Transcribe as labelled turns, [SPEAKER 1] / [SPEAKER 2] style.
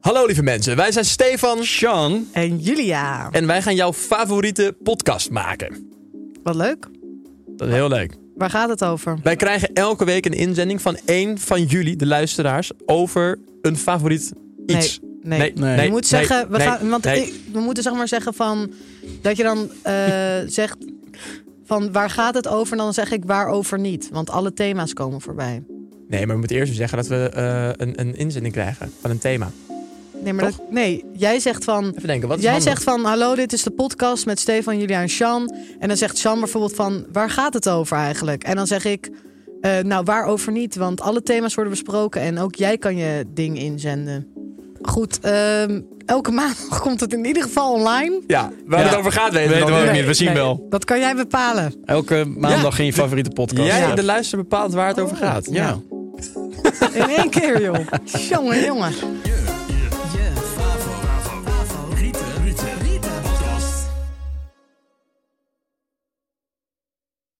[SPEAKER 1] Hallo lieve mensen, wij zijn Stefan
[SPEAKER 2] Sean,
[SPEAKER 3] En Julia.
[SPEAKER 1] en wij gaan jouw favoriete podcast maken.
[SPEAKER 3] Wat leuk.
[SPEAKER 1] Dat is heel leuk.
[SPEAKER 3] Waar gaat het over?
[SPEAKER 1] Wij krijgen elke week een inzending van één van jullie, de luisteraars, over een favoriet iets.
[SPEAKER 3] Nee.
[SPEAKER 2] Nee.
[SPEAKER 3] je moet
[SPEAKER 1] nee,
[SPEAKER 3] zeggen, we,
[SPEAKER 1] nee,
[SPEAKER 3] gaan, want
[SPEAKER 1] nee.
[SPEAKER 3] ik- we moeten zeg maar zeggen van. Dat je dan eh, zegt van waar gaat het over? En dan zeg ik waarover niet. Want alle thema's komen voorbij.
[SPEAKER 1] Nee, maar we moeten eerst zeggen dat we eh, een, een inzending krijgen van een thema.
[SPEAKER 3] Nee, maar dat, nee jij zegt van.
[SPEAKER 1] Even denken, wat is
[SPEAKER 3] Jij
[SPEAKER 1] handig?
[SPEAKER 3] zegt van, hallo, dit is de podcast met Stefan, Julia en Sean. En dan zegt Sean bijvoorbeeld van, waar gaat het over eigenlijk? En dan zeg ik, eh, nou, waarover niet? Want alle thema's worden besproken en ook jij kan je ding inzenden. Goed, ehm, elke maandag komt het in ieder geval online.
[SPEAKER 1] Ja, waar
[SPEAKER 2] Ja.
[SPEAKER 1] het over gaat weten we
[SPEAKER 2] Weten
[SPEAKER 1] nog
[SPEAKER 2] we ook
[SPEAKER 1] niet.
[SPEAKER 2] niet. we zien
[SPEAKER 3] nee,
[SPEAKER 2] wel.
[SPEAKER 3] Dat kan jij bepalen.
[SPEAKER 2] elke maandag in je favoriete podcast.
[SPEAKER 1] Jij,
[SPEAKER 3] Ja. Oh,
[SPEAKER 1] de luister, bepaalt waar het over gaat.
[SPEAKER 2] Ja.
[SPEAKER 3] In één keer, joh. jongen, jongen.